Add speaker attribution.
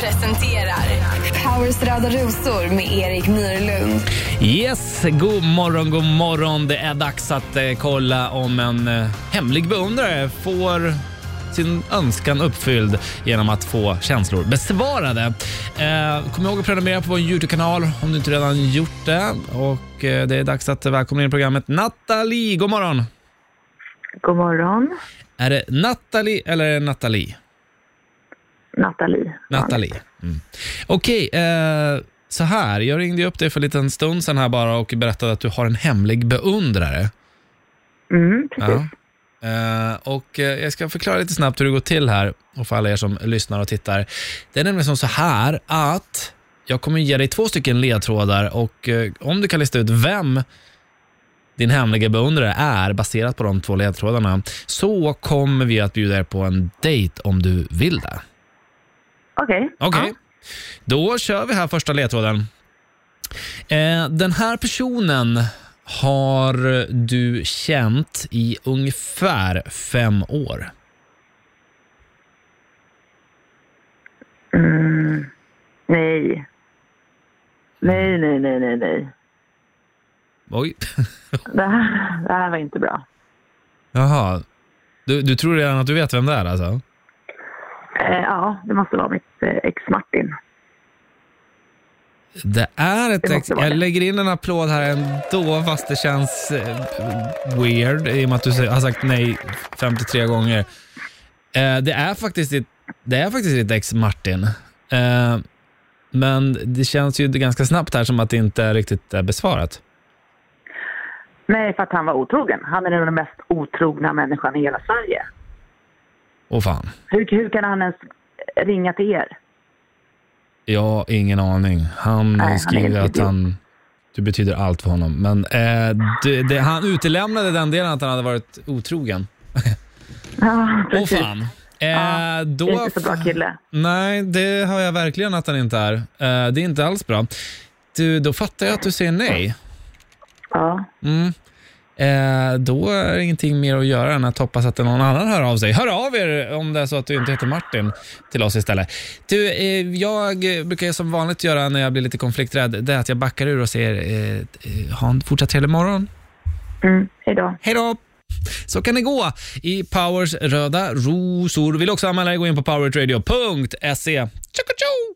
Speaker 1: presenterar Powers röda rosor med Erik Myrlund.
Speaker 2: Yes, god morgon, god morgon. Det är dags att eh, kolla om en eh, hemlig beundrare får sin önskan uppfylld genom att få känslor besvarade. Eh, kom ihåg att prenumerera på vår Youtube-kanal om du inte redan gjort det. Och eh, Det är dags att välkomna in i programmet Nathalie. God morgon!
Speaker 3: God morgon,
Speaker 2: Är det Nathalie eller är det Nathalie?
Speaker 3: Nathalie.
Speaker 2: Nathalie. Mm. Okej, eh, så här. Jag ringde ju upp dig för en liten stund sedan här bara och berättade att du har en hemlig beundrare.
Speaker 3: Mm, precis.
Speaker 2: Ja. Eh, och eh, jag ska förklara lite snabbt hur det går till här och för alla er som lyssnar och tittar. Det är nämligen som så här att jag kommer ge dig två stycken ledtrådar och eh, om du kan lista ut vem din hemliga beundrare är baserat på de två ledtrådarna så kommer vi att bjuda er på en dejt om du vill det.
Speaker 3: Okej.
Speaker 2: Okej.
Speaker 3: Ja.
Speaker 2: Då kör vi här första ledtråden. Eh, den här personen har du känt i ungefär fem år.
Speaker 3: Mm. Nej. Nej, nej, nej, nej, nej.
Speaker 2: Oj.
Speaker 3: Det här, det här var inte bra.
Speaker 2: Jaha. Du, du tror redan att du vet vem det är alltså?
Speaker 3: Eh, ja, det måste vara mitt eh, ex Martin.
Speaker 2: Det är ett...
Speaker 3: Det
Speaker 2: ex-
Speaker 3: måste vara
Speaker 2: jag
Speaker 3: det.
Speaker 2: lägger in en applåd här ändå fast det känns eh, weird i och med att du säger- har sagt nej 53 gånger. Eh, det, är faktiskt ditt, det är faktiskt ditt ex Martin. Eh, men det känns ju ganska snabbt här som att det inte är riktigt är besvarat.
Speaker 3: Nej, för att han var otrogen. Han är den mest otrogna människan i hela Sverige.
Speaker 2: Åh fan.
Speaker 3: Hur, hur kan han ens ringa till er?
Speaker 2: Jag har ingen aning. Han
Speaker 3: Nej, han är
Speaker 2: skriver
Speaker 3: helt
Speaker 2: att han... Du betyder allt för honom. Men eh, det, det, han utelämnade den delen att han hade varit otrogen.
Speaker 3: Ja,
Speaker 2: Åh
Speaker 3: precis.
Speaker 2: fan. Eh,
Speaker 3: Ja,
Speaker 2: då
Speaker 3: Inte så bra kille.
Speaker 2: Nej, det har jag verkligen att han inte är. Eh, det är inte alls bra. Du, då fattar jag att du säger nej.
Speaker 3: Ja.
Speaker 2: Mm. Eh, då är det ingenting mer att göra än att hoppas att någon annan hör av sig. Hör av er om det är så att du inte heter Martin till oss istället. Du, eh, jag brukar som vanligt göra när jag blir lite konflikträdd, det är att jag backar ur och säger eh, eh, ha en fortsatt trevlig morgon.
Speaker 3: Mm, hejdå.
Speaker 2: Hej då! Så kan det gå i Powers röda rosor. Vill också anmäla dig, gå in på powertradio.se. Tjocka tjo!